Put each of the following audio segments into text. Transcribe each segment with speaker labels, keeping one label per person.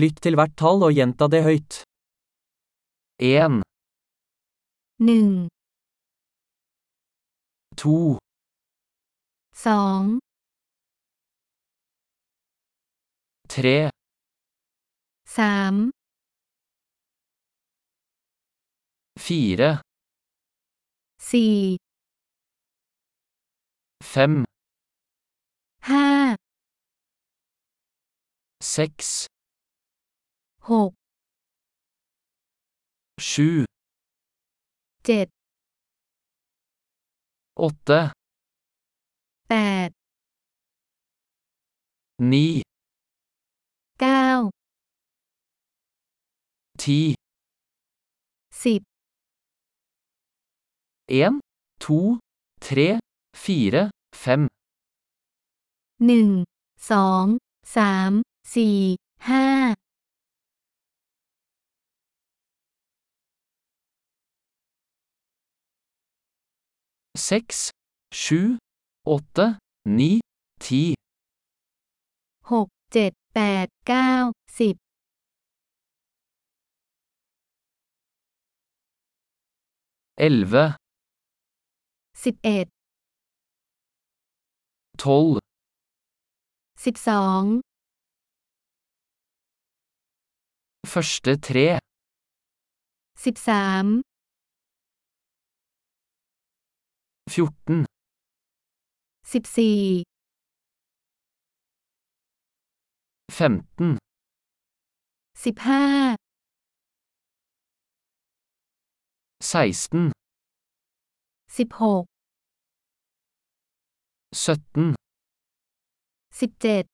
Speaker 1: Lytt til hvert tall og gjenta det høyt. 1,
Speaker 2: หนึ่ง
Speaker 1: 2,
Speaker 2: สอง
Speaker 1: 3,
Speaker 2: สาม
Speaker 1: 4,
Speaker 2: สี่
Speaker 1: 5,
Speaker 2: ห้า
Speaker 1: 6,
Speaker 2: หก
Speaker 1: 7,
Speaker 2: เจ็ด
Speaker 1: 8,
Speaker 2: แปด
Speaker 1: 9,
Speaker 2: เก้า
Speaker 1: 10,
Speaker 2: สิบ
Speaker 1: 1, 2, 3, 4, 5,
Speaker 2: หนึ่ง สอง สาม สี่ ห้า
Speaker 1: 6, 7, 8, 9, 10,
Speaker 2: หก เจ็ด แปด เก้า สิบ
Speaker 1: 11,
Speaker 2: สิบเอ็ด
Speaker 1: 12,
Speaker 2: สิบสอง
Speaker 1: første tre,
Speaker 2: สิบสาม
Speaker 1: 14,
Speaker 2: สิบสี่
Speaker 1: 15,
Speaker 2: สิบห้า
Speaker 1: 16,
Speaker 2: สิบหก
Speaker 1: 17,
Speaker 2: สิบเจ็ด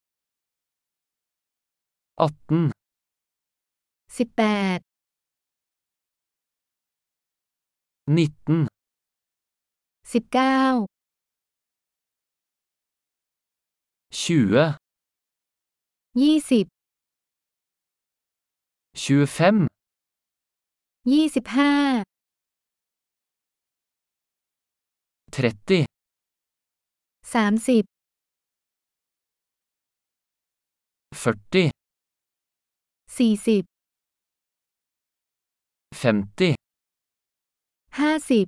Speaker 1: 18,
Speaker 2: สิบแปด
Speaker 1: 19,
Speaker 2: สิบเก้า
Speaker 1: 20,
Speaker 2: ยี่สิบ
Speaker 1: 25,
Speaker 2: ยี่สิบห้า
Speaker 1: 30,
Speaker 2: สามสิบ
Speaker 1: 40,
Speaker 2: สี่สิบ
Speaker 1: 50,
Speaker 2: ห้าสิบ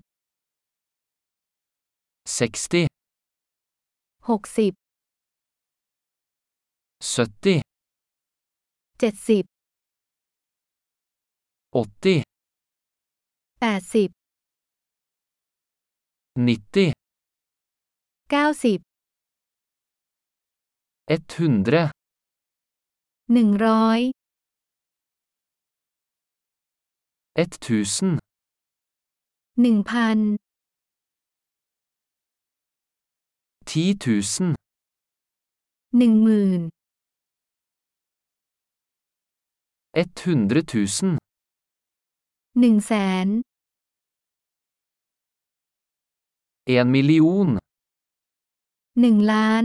Speaker 1: 60,
Speaker 2: หกสิบ
Speaker 1: 70,
Speaker 2: เจ็ดสิบ
Speaker 1: 80,
Speaker 2: แปดสิบ
Speaker 1: 90,
Speaker 2: เก้าสิบ
Speaker 1: 100,
Speaker 2: หนึ่งร้อย
Speaker 1: 1000,
Speaker 2: หนึ่งพัน
Speaker 1: 10 000,
Speaker 2: หนึ่งหมื่น
Speaker 1: 100 000,
Speaker 2: หนึ่งแสน
Speaker 1: 1 million,
Speaker 2: หนึ่งล้าน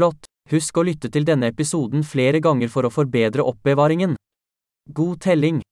Speaker 1: Flott! Husk å lytte til denne episoden flere ganger for å forbedre oppbevaringen. God telling!